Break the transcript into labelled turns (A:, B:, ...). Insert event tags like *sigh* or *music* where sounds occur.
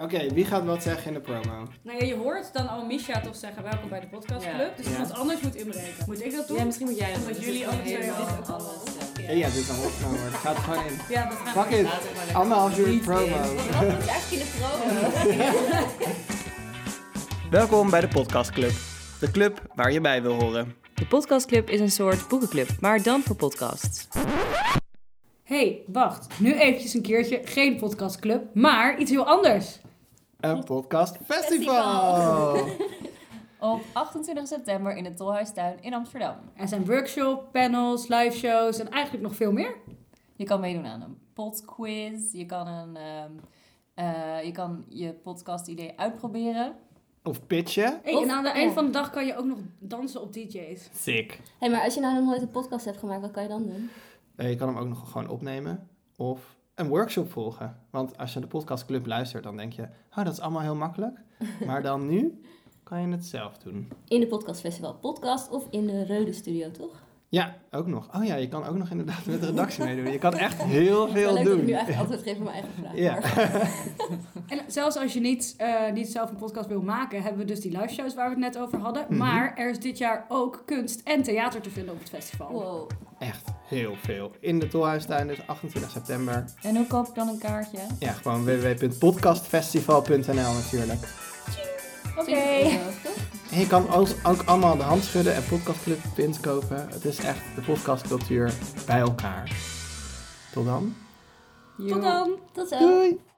A: Oké, wie gaat wat zeggen in de promo?
B: Nou ja, je hoort dan al Misha toch zeggen welkom bij de podcastclub. Dus
A: Ja.
B: iemand anders moet inbreken. Moet ik dat doen?
C: Ja, misschien moet jij dat
B: Omdat
C: doen.
B: jullie
C: Dat is
B: alle twee
C: helemaal
B: dit-
C: anders. eh.
A: Ja, ja dit is al opgenomen. Het gaat gewoon in.
B: Ja, dat gaan
A: Fuck it.
C: Laat het maar lekker.
A: Anderhalf uur
C: Niet
A: promo. *laughs*
C: in.
D: Dat is echt in de promo.
A: *laughs* Welkom bij de podcastclub. De club waar je bij wil horen.
C: De podcastclub is een soort boekenclub, maar dan voor podcasts.
B: hey, wacht. Nu eventjes een keertje geen podcastclub, maar iets heel anders.
A: Een podcastfestival.
C: Op 28 september in het Tolhuistuin in Amsterdam.
B: Er zijn workshop, panels, live shows en eigenlijk nog veel meer.
C: Je kan meedoden aan een podquiz. Je kan, een, ehm, eh, je, kan je podcast-idee uitproberen.
A: Of pitchen.
B: Hey,
D: Of-
B: en aan het eind
D: ja.
B: van de dag kan je ook nog dansen op DJ's.
A: *laughs* Sick.
D: Hé, maar als je nou nog nooit een podcast hebt gemaakt, wat kan je dan doen?
A: Eh, je kan hem ook nog gewoon opnemen. Of een workshop volgen. Want als je de podcastclub luistert, dan denk je... Oh, dat is allemaal heel makkelijk. Maar dan nu kan je het zelf doen.
D: In de podcastfestival podcast of in de Reude Studio, toch?
A: Ja, ook nog. Oh ja, je kan ook nog inderdaad met de redactie meedoen. Je kan
D: *laughs*
A: echt heel
D: Wel
A: veel
D: leuk dat ik nu
A: doen.
D: eigenlijk antwoord geef op mijn eigen vraag.
A: Ja.
D: maar-
B: En zelfs als je niet, eh, niet zelf een podcast wil maken, hebben we dus die live shows waar we het net over hadden.
A: Mhm.
B: Maar er is dit jaar ook kunst en theater te vinden op het festival.
D: Wow.
A: *laughs* Echt heel veel. In de Tolhuistuin, dus 28 september.
C: En hoe koop ik dan een kaartje?
A: Ja, gewoon www.podcastfestival.nl natuurlijk.
B: Oké.
D: 20 euro, toch?
A: En je kan ook, ook allemaal de hand schudden en podcastclubpins kopen. Het is echt de podcastcultuur bij elkaar. Tot dan.
B: *laughs* Tot dan!
D: Tot zo.
A: Doei!